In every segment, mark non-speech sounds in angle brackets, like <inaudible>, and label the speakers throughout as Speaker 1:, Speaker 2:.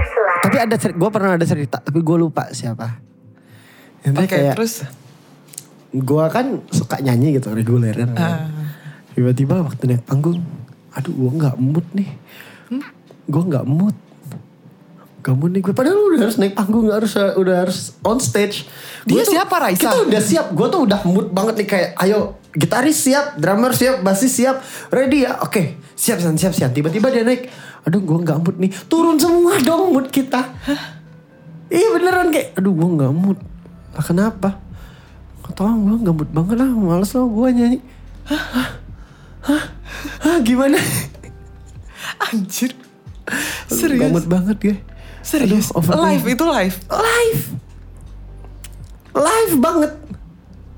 Speaker 1: ada gue pernah ada cerita tapi gue lupa siapa. Intinya
Speaker 2: Oke
Speaker 1: kayak
Speaker 2: terus
Speaker 1: gue kan suka nyanyi gitu reguler kan.
Speaker 2: Ah.
Speaker 1: Tiba-tiba waktu naik panggung, aduh gue nggak mood nih,
Speaker 2: Hmm?
Speaker 1: gue nggak mood. Gak mood nih gue padahal udah harus naik panggung udah harus udah harus on stage.
Speaker 2: Dia siapa, Raisa?
Speaker 1: Kita udah siap, gue tuh udah mood banget nih kayak ayo gitaris siap, drummer siap, bassis siap, ready ya, oke siap siap siap siap. Tiba-tiba dia naik, aduh gue nggak mood nih, turun semua dong mood kita. Iya beneran kayak, aduh gue nggak mood. Lah kenapa? Gak tau gue nggak mood banget lah, males lah gue nyanyi. Hah? Hah? Hah? Hah? Gimana?
Speaker 2: anjir.
Speaker 1: Aduh,
Speaker 2: <laughs> Serius.
Speaker 1: Nggak mood banget ya.
Speaker 2: Serius.
Speaker 1: Aduh, overthinking.
Speaker 2: live itu live.
Speaker 1: live live banget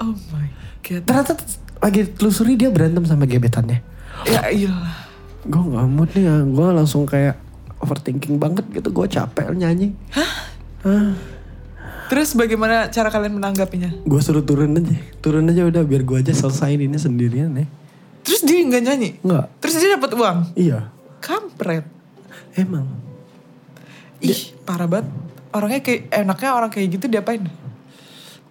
Speaker 2: Oh my god.
Speaker 1: ternyata t- lagi telusuri dia berantem sama gebetannya
Speaker 2: Ya iyalah.
Speaker 1: gue nggak mood nih ya gue langsung kayak overthinking banget gitu gue capek nyanyi
Speaker 2: Terus bagaimana cara kalian menanggapinya?
Speaker 1: gue suruh turun aja turun aja udah biar gue aja selesaiin ini sendirian ya
Speaker 2: Terus dia nggak nyanyi?
Speaker 1: nggak
Speaker 2: Terus dia dapat uang?
Speaker 1: iya
Speaker 2: Kampret.
Speaker 1: emang
Speaker 2: Ih, parah banget. Orangnya kayak enaknya orang kayak gitu diapain?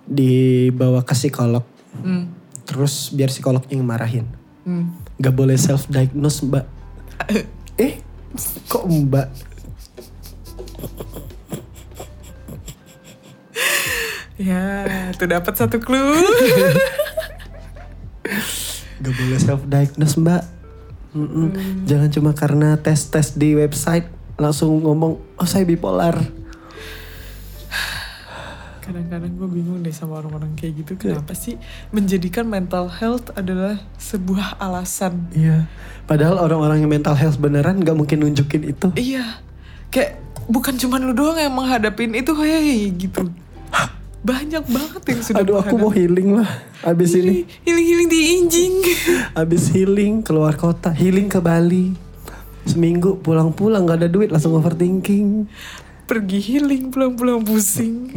Speaker 1: dibawa ke psikolog
Speaker 2: Hmm.
Speaker 1: terus biar psikolognya yang marahin
Speaker 2: Hmm.
Speaker 1: nggak boleh self diagnose
Speaker 2: <laughs>
Speaker 1: mbak eh kok mbak
Speaker 2: Ya, tuh dapat satu
Speaker 1: <laughs>
Speaker 2: clue.
Speaker 1: Gak boleh self diagnose mbak. Mm-mm.
Speaker 2: Hmm.
Speaker 1: Jangan cuma karena tes tes di website langsung ngomong oh saya bipolar.
Speaker 2: Kadang-kadang gue bingung deh sama orang-orang kayak gitu.
Speaker 1: Iya.
Speaker 2: Kenapa sih menjadikan mental health adalah sebuah alasan?
Speaker 1: Iya. Padahal orang-orang yang mental health beneran gak mungkin nunjukin itu.
Speaker 2: Iya, kayak bukan cuma lu doang yang menghadapin itu, hei gitu. Banyak banget yang sudah
Speaker 1: Aduh aku mau healing lah
Speaker 2: Iya.
Speaker 1: abis ini.
Speaker 2: Hiling-hiling di injing. <laughs>
Speaker 1: Abis healing keluar kota healing ke Bali. Seminggu pulang-pulang gak ada duit langsung overthinking.
Speaker 2: Pergi healing, pulang-pulang pusing.